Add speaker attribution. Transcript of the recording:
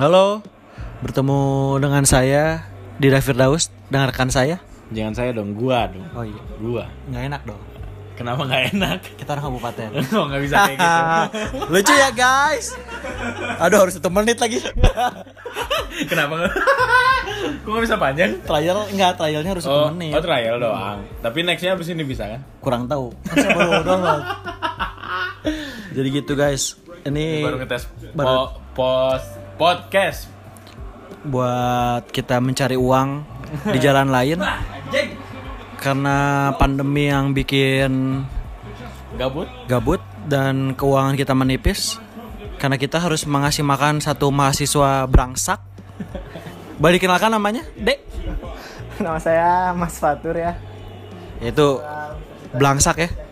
Speaker 1: Halo, bertemu dengan saya di David Daus, dengan rekan saya.
Speaker 2: Jangan saya dong, gua dong.
Speaker 1: Oh iya,
Speaker 2: Gua.
Speaker 1: nggak enak dong.
Speaker 2: Kenapa nggak enak?
Speaker 1: Kita orang kabupaten.
Speaker 2: Kok nggak bisa kayak gitu?
Speaker 1: Lucu ya guys. Aduh harus satu menit lagi.
Speaker 2: Kenapa nggak? Kok nggak bisa panjang?
Speaker 1: Trial nggak trialnya harus satu
Speaker 2: Oh,
Speaker 1: menit.
Speaker 2: oh trial doang. Tapi nextnya abis ini bisa kan?
Speaker 1: Kurang tahu. Kan saya baru download. Jadi gitu guys. Ini
Speaker 2: Baru ngetes
Speaker 1: baru-
Speaker 2: po post podcast.
Speaker 1: buat kita mencari uang di jalan lain
Speaker 2: Jeng.
Speaker 1: karena pandemi yang bikin
Speaker 2: Gabut?
Speaker 1: gabut dan keuangan kita menipis karena kita harus mengasih makan satu mahasiswa berangsak. Balikin kenalkan namanya, Dek.
Speaker 3: Nama saya Mas Fatur ya.
Speaker 1: Yaitu belangsak ya.